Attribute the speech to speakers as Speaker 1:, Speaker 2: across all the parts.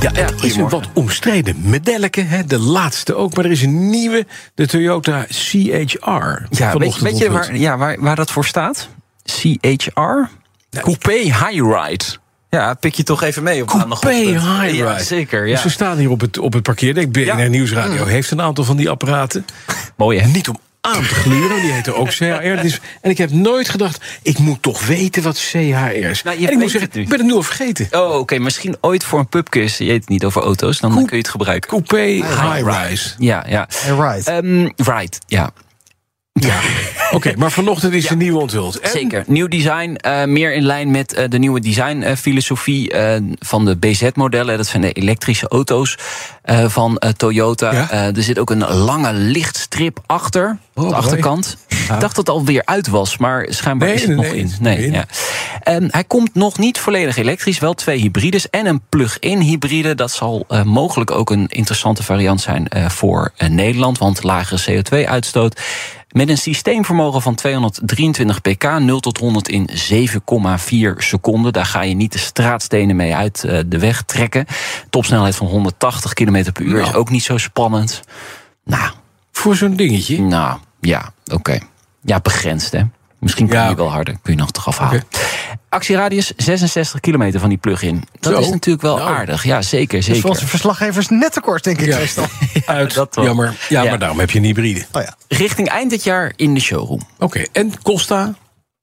Speaker 1: Ja, het is een wat omstreden medelke, hè, de laatste ook. Maar er is een nieuwe, de Toyota CHR.
Speaker 2: Ja, weet,
Speaker 1: Vanochtend
Speaker 2: weet je
Speaker 1: ontmoet.
Speaker 2: waar, ja, waar, waar dat voor staat? CHR? Coupé High-Ride. Ja, pik je toch even mee op
Speaker 1: Coupé
Speaker 2: maandagochtend.
Speaker 1: High
Speaker 2: Ja, zeker. Ja.
Speaker 1: Dus we staan hier op het, op het parkeerdek. BNR
Speaker 2: Ja.
Speaker 1: Nieuwsradio heeft een aantal van die apparaten.
Speaker 2: Mooi, hè?
Speaker 1: Niet om aan te gluren, die heten ook CHR. Dus, en ik heb nooit gedacht, ik moet toch weten wat CHR is.
Speaker 2: Nou, je
Speaker 1: en ik
Speaker 2: weet
Speaker 1: moet zeggen,
Speaker 2: het nu.
Speaker 1: ik ben het nu al vergeten.
Speaker 2: Oh, oké. Misschien ooit voor een pubquiz. Je weet het niet over auto's. Dan kun je het gebruiken.
Speaker 1: Coupé high-rise.
Speaker 2: Ja, ja.
Speaker 3: Right.
Speaker 2: Ehm, right, ja.
Speaker 1: Ja. Oké, maar vanochtend is de nieuwe onthuld. En
Speaker 2: Zeker. Nieuw design, eh, meer in lijn met eh, de nieuwe designfilosofie van de BZ-modellen. Dat zijn de elektrische auto's eh, van eh, Toyota.
Speaker 1: Ja. Oh,
Speaker 2: Eh, er zit ook een lange lichtstrip achter, op de
Speaker 1: mooi.
Speaker 2: achterkant. Ik dacht dat het alweer uit was, maar schijnbaar
Speaker 1: Nee,
Speaker 2: is het
Speaker 1: nee,
Speaker 2: nog
Speaker 1: nee,
Speaker 2: in.
Speaker 1: het is
Speaker 2: Nee,
Speaker 1: nog in.
Speaker 2: ja. Ehm, hij komt nog niet volledig elektrisch, wel twee hybrides en een plug-in hybride. Dat zal eh, mogelijk ook een interessante variant zijn eh, voor eh, Nederland, want lagere CO2-uitstoot. Met een systeemvermogen van 223 pk, 0 tot 100 in 7,4 seconden. Daar ga je niet de straatstenen mee uit eh, de weg trekken. Topsnelheid van 180 km per uur is ook niet zo spannend. Nou,
Speaker 1: voor zo'n dingetje.
Speaker 2: nou, ja, oké. Ja, begrensd, hè. Misschien kun je
Speaker 1: Ja,
Speaker 2: die wel harder, kun je nog toch afhalen. Actieradius 66 kilometer van die plug-in. Dat
Speaker 1: Zo.
Speaker 2: is natuurlijk wel
Speaker 1: Nou.
Speaker 2: aardig. Ja, zeker,
Speaker 3: Dus voor
Speaker 2: zeker.
Speaker 3: onze verslaggevers net te kort, denk ik.
Speaker 1: Ja.
Speaker 3: meestal.
Speaker 1: Uit.
Speaker 2: dat wel.
Speaker 1: Jammer. Ja,
Speaker 2: Ja.
Speaker 1: maar daarom heb je een hybride.
Speaker 3: Oh ja.
Speaker 2: Richting eind dit jaar in de showroom.
Speaker 1: Oké, en Costa?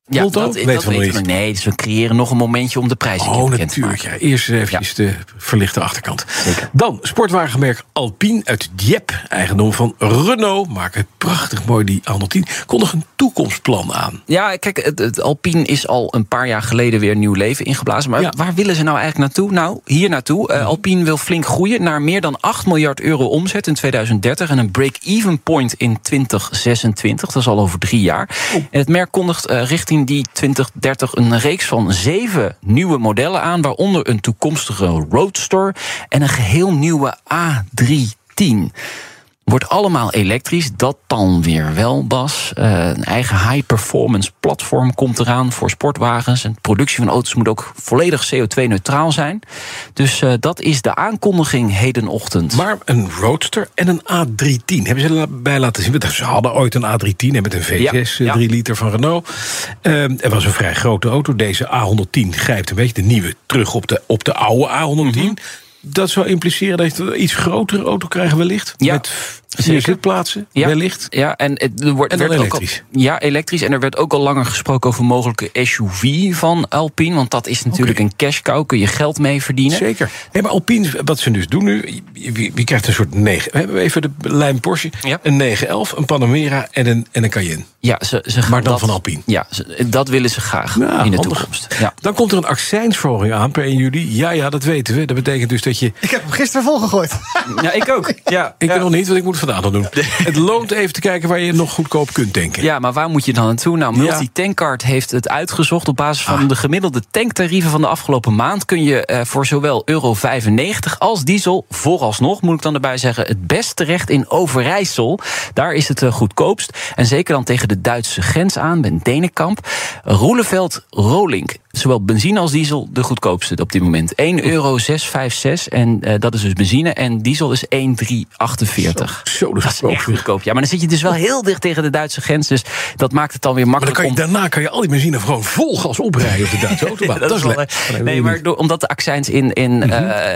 Speaker 2: Ja,
Speaker 1: Volto?
Speaker 2: dat,
Speaker 1: Weten
Speaker 2: dat
Speaker 1: we nog
Speaker 2: weten we.
Speaker 1: niet.
Speaker 2: Nee, dus we creëren nog een momentje om de prijs
Speaker 1: Oh, natuurlijk. Ja. Eerst even de verlichte achterkant. Dan sportwagenmerk Alpine uit Dieppe, eigendom van Renault. Maken prachtig mooi die Anno 10. Kondig een toekomstplan aan.
Speaker 2: Ja, kijk, het, het Alpine is al een paar jaar geleden weer nieuw leven ingeblazen. Maar
Speaker 1: Ja.
Speaker 2: waar willen ze nou eigenlijk naartoe? Nou, hier naartoe. Eh, Alpine wil flink groeien naar meer dan 8 miljard euro omzet in 2030 en een break-even point in 2026. Dat is al over drie jaar. En het merk kondigt eh, richting die 2030 een reeks van zeven nieuwe modellen aan, waaronder een toekomstige Roadster en een geheel nieuwe A310. Wordt allemaal elektrisch, dat dan weer wel, Bas. Eh, een eigen high-performance platform komt eraan voor sportwagens. En de productie van auto's moet ook volledig CO2-neutraal zijn. Dus eh, dat is de aankondiging hedenochtend.
Speaker 1: Maar een Roadster en een A310 hebben ze erbij laten zien. Want Ze hadden ooit een A310 hè, met een V6,
Speaker 2: Ja,
Speaker 1: eh, 3
Speaker 2: ja.
Speaker 1: liter van Renault. Ehm het was een vrij grote auto. Deze A110 grijpt een beetje de nieuwe terug op de, op de oude A110.
Speaker 2: Mhm.
Speaker 1: Dat zou impliceren dat je een iets grotere auto krijgt wellicht.
Speaker 2: Ja,
Speaker 1: met vier
Speaker 2: zeker.
Speaker 1: zitplaatsen
Speaker 2: Ja.
Speaker 1: wellicht.
Speaker 2: Ja, en het er wordt
Speaker 1: En dan
Speaker 2: werd
Speaker 1: elektrisch.
Speaker 2: Ook al, ja, elektrisch. En er werd ook al langer gesproken over mogelijke SUV van Alpine. Want dat is natuurlijk
Speaker 1: Oké.
Speaker 2: een cash cow, kun je geld mee verdienen.
Speaker 1: Zeker. Nee, maar Alpine, wat ze dus doen nu, je, je- je krijgt een soort 9. We hebben even de lijn Porsche,
Speaker 2: Ja.
Speaker 1: een 911, een Panamera en een, en een Cayenne.
Speaker 2: Ja, ze, ze gaan
Speaker 1: Maar dan
Speaker 2: dat-
Speaker 1: van Alpine.
Speaker 2: Ja, ze- dat willen ze graag
Speaker 1: Nou,
Speaker 2: in de
Speaker 1: handig.
Speaker 2: toekomst. Ja.
Speaker 1: Dan komt er een accijnsverhoging aan per 1 juli. Ja, ja, dat weten we. Dat betekent dus dat je...
Speaker 3: Ik heb hem gisteren volgegooid.
Speaker 2: ja, ik ook. Ja,
Speaker 1: Ik wil nog niet, want ik moet het vandaag nog doen. Het loont even te kijken waar je nog goedkoop kunt tanken.
Speaker 2: Ja, maar waar moet je dan naartoe? Nou,
Speaker 1: Ja. Ah.
Speaker 2: Multitankcard heeft het uitgezocht. Op basis van de gemiddelde tanktarieven van de afgelopen maand... kun je eh, voor zowel euro 95 als diesel vooralsnog... moet ik dan erbij zeggen, het best terecht in Overijssel. Daar is het eh, goedkoopst. En zeker dan tegen de Duitse grens aan, bij Denenkamp. Roeleveld Rolink. Zowel benzine als diesel de goedkoopste op dit moment. 1,656 euro. En eh, dat is dus benzine. En diesel is 1,348.
Speaker 1: Zo, dat
Speaker 2: Dat
Speaker 1: is
Speaker 2: is
Speaker 1: goedkoop.
Speaker 2: echt
Speaker 1: zeg.
Speaker 2: goedkoop. Ja, maar dan zit je dus wel heel dicht tegen de Duitse grens. Dus dat maakt het dan weer
Speaker 1: Maar dan
Speaker 2: makkelijk
Speaker 1: kan je,
Speaker 2: om...
Speaker 1: daarna kan je al die benzine gewoon vol gas oprijden op de Duitse autobahn. dat, is
Speaker 2: wel- eh,
Speaker 1: lekker.
Speaker 2: Nee, maar door- omdat de accijns in, in eh,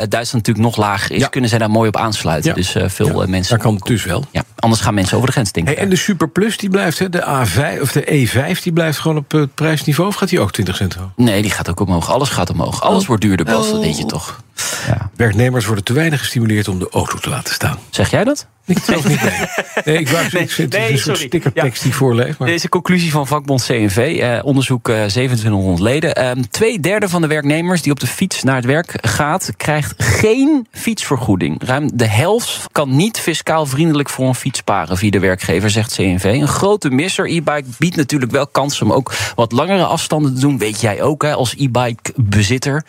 Speaker 2: Duitsland natuurlijk nog laag is...
Speaker 1: Mhm. Ja.
Speaker 2: kunnen zij daar mooi op aansluiten.
Speaker 1: Ja.
Speaker 2: Dus eh, veel eh, mensen...
Speaker 1: Daar kan het dus wel.
Speaker 2: Ja, anders gaan mensen over de grens denken.
Speaker 1: Hey, en de Super Plus die blijft, hè? de, A5, of de E5, die blijft gewoon op eh, het prijsniveau? Of gaat die ook 20 cent hoog? Oh.
Speaker 2: Nee, die gaat ook omhoog. Alles gaat omhoog. Alles wordt duurder, Bas. Dat weet je toch. Ja.
Speaker 1: Werknemers worden te weinig gestimuleerd om de auto te laten staan.
Speaker 2: Zeg jij dat?
Speaker 1: Ik het zelf niet mee. Nee, ik wou nee, het is
Speaker 2: nee,
Speaker 1: een soort
Speaker 2: sorry.
Speaker 1: stickertekst
Speaker 2: Ja.
Speaker 1: die ik voorlees. Maar
Speaker 2: Deze conclusie van vakbond CNV, eh, onderzoek eh, 2700 leden. Eh, twee derde van de werknemers die op de fiets naar het werk gaat, krijgt geen fietsvergoeding. Ruim de helft kan niet fiscaal vriendelijk voor een fiets sparen via de werkgever, zegt CNV. Een grote misser. E-bike biedt natuurlijk wel kansen om ook wat langere afstanden te doen. Weet jij ook, hè, als e-bike bezitter.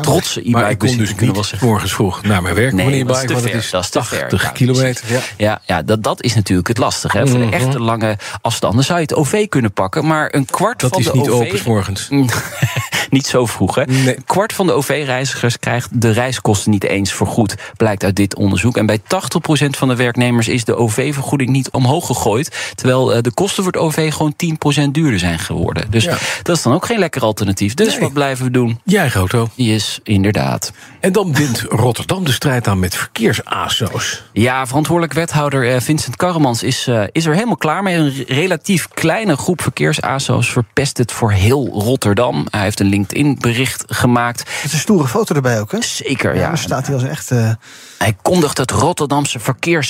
Speaker 2: Trotse
Speaker 1: Mhm. maar
Speaker 2: e-bike
Speaker 1: ik kom dus
Speaker 2: bezitter kunnen we wel
Speaker 1: niet
Speaker 2: zeggen.
Speaker 1: morgens vroeg naar mijn werk.
Speaker 2: Nee,
Speaker 1: meneer
Speaker 2: dat is
Speaker 1: Baik,
Speaker 2: te
Speaker 1: want
Speaker 2: ver,
Speaker 1: het is
Speaker 2: dat is te ver.
Speaker 1: 80
Speaker 2: Ja,
Speaker 1: kilometer. Ja.
Speaker 2: Ja, ja dat, dat is natuurlijk het lastige. Hè. Voor
Speaker 1: Mhm.
Speaker 2: de echte lange afstanden zou je het OV kunnen pakken. Maar een kwart
Speaker 1: Dat
Speaker 2: van
Speaker 1: is
Speaker 2: de Mm.
Speaker 1: niet
Speaker 2: OV...
Speaker 1: open 's morgens.
Speaker 2: niet zo vroeg, hè?
Speaker 1: Nee.
Speaker 2: Een kwart van de OV-reizigers krijgt de reiskosten niet eens vergoed, blijkt uit dit onderzoek. En bij 80% van de werknemers is de OV-vergoeding niet omhoog gegooid. Terwijl eh, de kosten voor het OV gewoon 10% duurder zijn geworden. Dus
Speaker 1: Ja.
Speaker 2: dat is dan ook geen lekker alternatief. Dus
Speaker 1: Nee.
Speaker 2: wat blijven we doen?
Speaker 1: Jij eigen auto.
Speaker 2: Yes, inderdaad.
Speaker 1: En dan wint Rotterdam de strijd aan met verkeersaso's.
Speaker 2: Ja, verantwoordelijk wethouder eh, Vincent Karremans is, eh, is er helemaal klaar mee. Een re- relatief kleine groep verkeersaso's verpest het voor heel Rotterdam. Hij heeft een LinkedIn-bericht gemaakt.
Speaker 3: Het is een stoere foto erbij ook, hè?
Speaker 2: Zeker, ja.
Speaker 3: dan staat hij als een echt... eh,
Speaker 2: Hij kondigt het Rotterdamse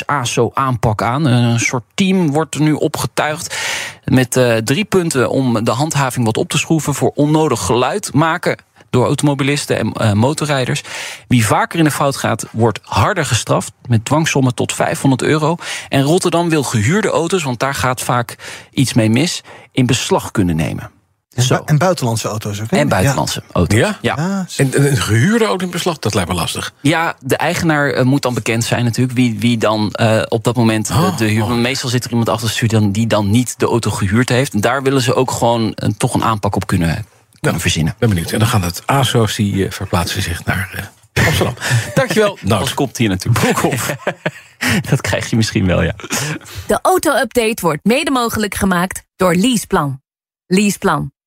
Speaker 2: verkeers-ASO-aanpak aan. Een soort team wordt er nu opgetuigd met eh, drie punten om de handhaving wat op te schroeven voor onnodig geluid maken door automobilisten en eh, motorrijders. Wie vaker in de fout gaat, wordt harder gestraft met dwangsommen tot 500 euro. En Rotterdam wil gehuurde auto's, want daar gaat vaak iets mee mis, in beslag kunnen nemen. Zo.
Speaker 3: en buitenlandse auto's ook, hè?
Speaker 2: En buitenlandse auto's.
Speaker 1: Ja?
Speaker 2: ja.
Speaker 3: Ja,
Speaker 1: En en een gehuurde auto in beslag, dat lijkt me lastig.
Speaker 2: Ja, de eigenaar eh, moet dan bekend zijn natuurlijk. Wie, wie dan eh, op dat moment eh,
Speaker 1: Oh,
Speaker 2: de huur...
Speaker 1: oh.
Speaker 2: want Meestal zit er iemand achter de stuur dan- die dan niet de auto gehuurd heeft. En daar willen ze ook gewoon een- toch een aanpak op kunnen, kunnen verzinnen.
Speaker 1: Ben benieuwd. En dan gaan het ASO's die eh, verplaatsen zich naar eh, Amsterdam. Dankjewel. Nou,
Speaker 2: Als komt hier natuurlijk. dat krijg je misschien wel, ja.
Speaker 4: De auto-update wordt mede mogelijk gemaakt door Leaseplan. Leaseplan.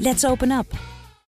Speaker 5: Let's open up!